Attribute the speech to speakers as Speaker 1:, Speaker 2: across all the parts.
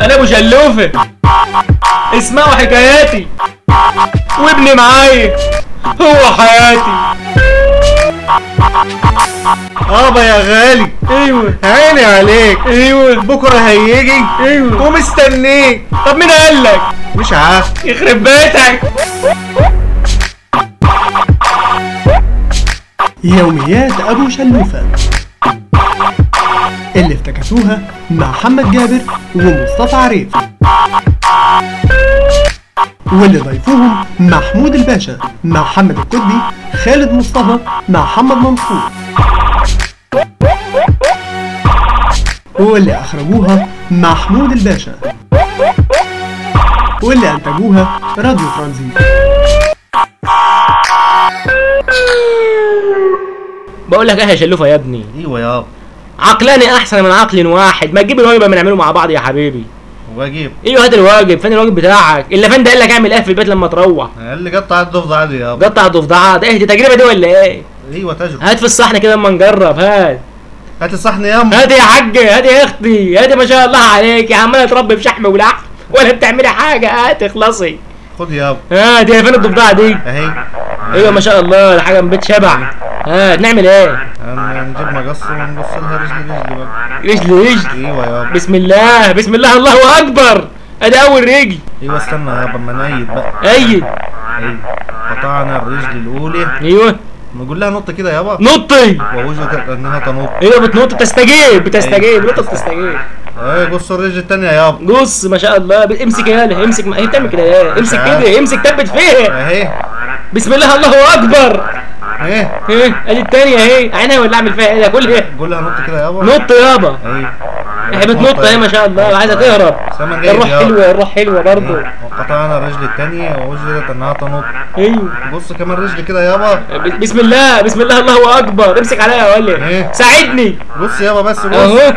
Speaker 1: انا ابو شلوفه اسمعوا حكاياتي وابني معايا هو حياتي
Speaker 2: ابا آه، يا غالي
Speaker 1: ايوه
Speaker 2: عيني عليك
Speaker 1: ايوه
Speaker 2: بكره هيجي
Speaker 1: ايوه
Speaker 2: ومستنيك
Speaker 1: طب مين قال لك
Speaker 2: مش عارف
Speaker 1: يخرب بيتك
Speaker 3: يوميات أبو شلوفة اللي افتكتوها مع محمد جابر ومصطفى عريف واللي ضيفوهم محمود الباشا مع محمد الكتبي خالد مصطفى مع محمد منصور واللي أخرجوها محمود الباشا واللي أنتجوها راديو ترانزيت
Speaker 1: بقول لك ايه يا شلوفه يا ابني
Speaker 2: ايوه يابا
Speaker 1: عقلاني احسن من عقل واحد ما تجيب الواجب ما نعمله مع بعض يا حبيبي
Speaker 2: واجيب
Speaker 1: ايوه هات الواجب فين الواجب بتاعك اللي فندق قال لك اعمل ايه في البيت لما تروح
Speaker 2: اللي قطع الضفدع عادي يابا
Speaker 1: قطع ضفدعه ده ايه دي تجربه دي ولا ايه
Speaker 2: ايوه تجربه
Speaker 1: هات في الصحن كده اما نجرب هات
Speaker 2: هات الصحن ياما
Speaker 1: هات يا حاج هات يا اختي هات ما شاء الله عليك يا عماله تربي في شحم ولحم ولا بتعملي حاجه هات اخلصي
Speaker 2: خد يابا
Speaker 1: هات هي فين الضفدعه دي
Speaker 2: اهي
Speaker 1: ايوه ما شاء الله ده حاجه من بيت شبع هات نعمل ايه
Speaker 2: هن- نجيب مقص ونقص لها رجل رجل بقى
Speaker 1: رجل رجل
Speaker 2: ايوه يابا
Speaker 1: بسم الله بسم الله الله اكبر ادي اول رجل
Speaker 2: ايوه استنى يابا اما نايد بقى
Speaker 1: ايد
Speaker 2: ايوه قطعنا الرجل الاولى
Speaker 1: ايوه
Speaker 2: نقول لها نط كده يابا
Speaker 1: نطي
Speaker 2: ووجدت انها تنط
Speaker 1: ايوه بتنط بتستجيب بتستجيب نط بتستجيب
Speaker 2: ايه بص الرجل الثانيه يابا
Speaker 1: بص ما شاء الله ب- امسك يالا امسك ما هي بتعمل كده يالا امسك كده امسك ثبت فيها
Speaker 2: اهي
Speaker 1: بسم الله الله اكبر
Speaker 2: ايه
Speaker 1: ايه ادي التانية اهي عينها ولا اعمل فيها ايه ده كل ايه
Speaker 2: قول لها نط كده يابا
Speaker 1: نط يابا
Speaker 2: ايوه
Speaker 1: هي بتنط اهي ما شاء الله عايزه تهرب
Speaker 2: سما جاي
Speaker 1: الروح
Speaker 2: يابا.
Speaker 1: حلوه الروح حلوه برضه
Speaker 2: وقطعنا الرجل الثانيه ووجدت انها تنط
Speaker 1: ايوه
Speaker 2: بص كمان رجل كده يابا
Speaker 1: ب- بسم الله بسم الله الله اكبر امسك عليا يا
Speaker 2: ايه؟
Speaker 1: ولد ساعدني
Speaker 2: بص يابا بس
Speaker 1: اهو
Speaker 2: بص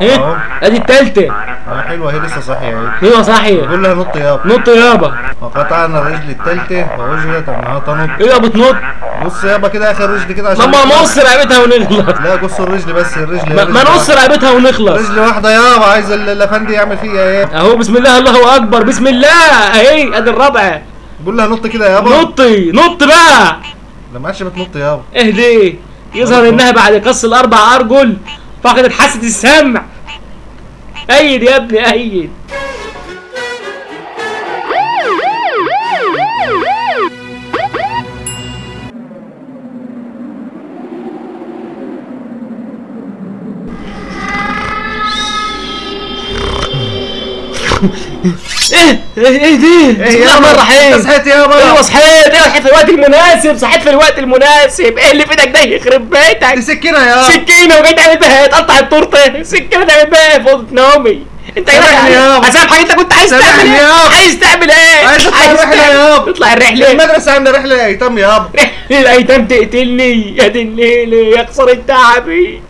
Speaker 1: ايه
Speaker 2: أهو.
Speaker 1: ادي التالتة
Speaker 2: اه حلوه هي لسه صاحيه اهي
Speaker 1: ايوه صحيح
Speaker 2: قول لها نط يابا
Speaker 1: نط يابا
Speaker 2: وقطعنا الرجل الثالثه ووجدت انها تنط
Speaker 1: ايوه بتنط
Speaker 2: بص يابا كده اخر رجل كده عشان
Speaker 1: لما نقص رقبتها ونخلص
Speaker 2: لا قص الرجل بس الرجل
Speaker 1: ما- ما
Speaker 2: الرجل
Speaker 1: نقص
Speaker 2: واحدة.
Speaker 1: رقبتها ونخلص
Speaker 2: رجل واحده يابا عايز ال- الافندي يعمل فيها ايه
Speaker 1: اهو بسم الله الله اكبر بسم الله اهي ادي الرابعه
Speaker 2: قول لها نط كده يابا
Speaker 1: نطي نط بقى
Speaker 2: لا ما عادش بتنط يابا
Speaker 1: اهدي إيه يظهر انها بعد قص الاربع ارجل فقدت حاسه السمع ايد يا ابني ايد ايه ايه ايه دي؟
Speaker 2: ايه
Speaker 1: بسم الله الرحمن
Speaker 2: يابا
Speaker 1: الرحيم
Speaker 2: انت صحيت يابا
Speaker 1: ايوه صحيت ايوه صحيت في الوقت المناسب صحيت في الوقت المناسب ايه اللي في ايدك ده يخرب
Speaker 2: دي
Speaker 1: بيتك
Speaker 2: سكينه يابا
Speaker 1: سكينه وجاي تعمل بيها ايه تقطع التورته سكينه تعمل بيها ايه في اوضه نومي انت كده
Speaker 2: سامحني يابا.
Speaker 1: هسامحك انت كنت عايز
Speaker 2: سامحني
Speaker 1: تعمل ايه
Speaker 2: يابا.
Speaker 1: عايز تعمل ايه
Speaker 2: عايز اطلع الرحلة يابا.
Speaker 1: اطلع الرحله
Speaker 2: المدرسه عامله رحله ايتام يابا
Speaker 1: رحله الايتام تقتلني يا دي الليل يكسر التعبي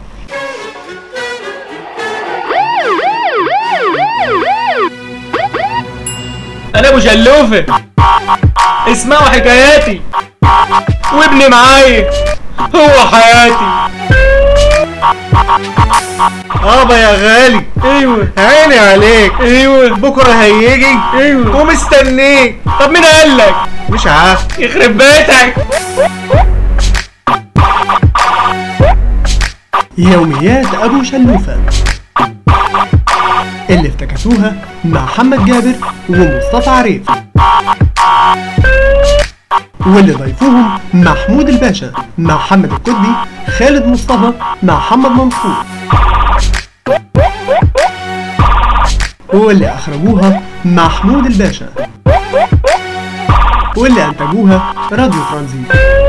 Speaker 1: انا ابو شلوفه اسمعوا حكاياتي وابني معايا هو حياتي
Speaker 2: ابا يا غالي
Speaker 1: ايوه
Speaker 2: عيني عليك
Speaker 1: ايوه
Speaker 2: بكره هيجي
Speaker 1: ايوه
Speaker 2: ومستنيك
Speaker 1: طب مين قال لك
Speaker 2: مش عارف
Speaker 1: يخرب بيتك
Speaker 3: يوميات أبو شلوفة اللي افتكتوها مع محمد جابر ومصطفى عريف واللي ضيفوهم محمود الباشا مع محمد الكتبي خالد مصطفى مع محمد منصور واللي أخرجوها محمود الباشا واللي أنتجوها راديو ترانزيت